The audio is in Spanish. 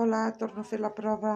Hola, torno a fer la prova.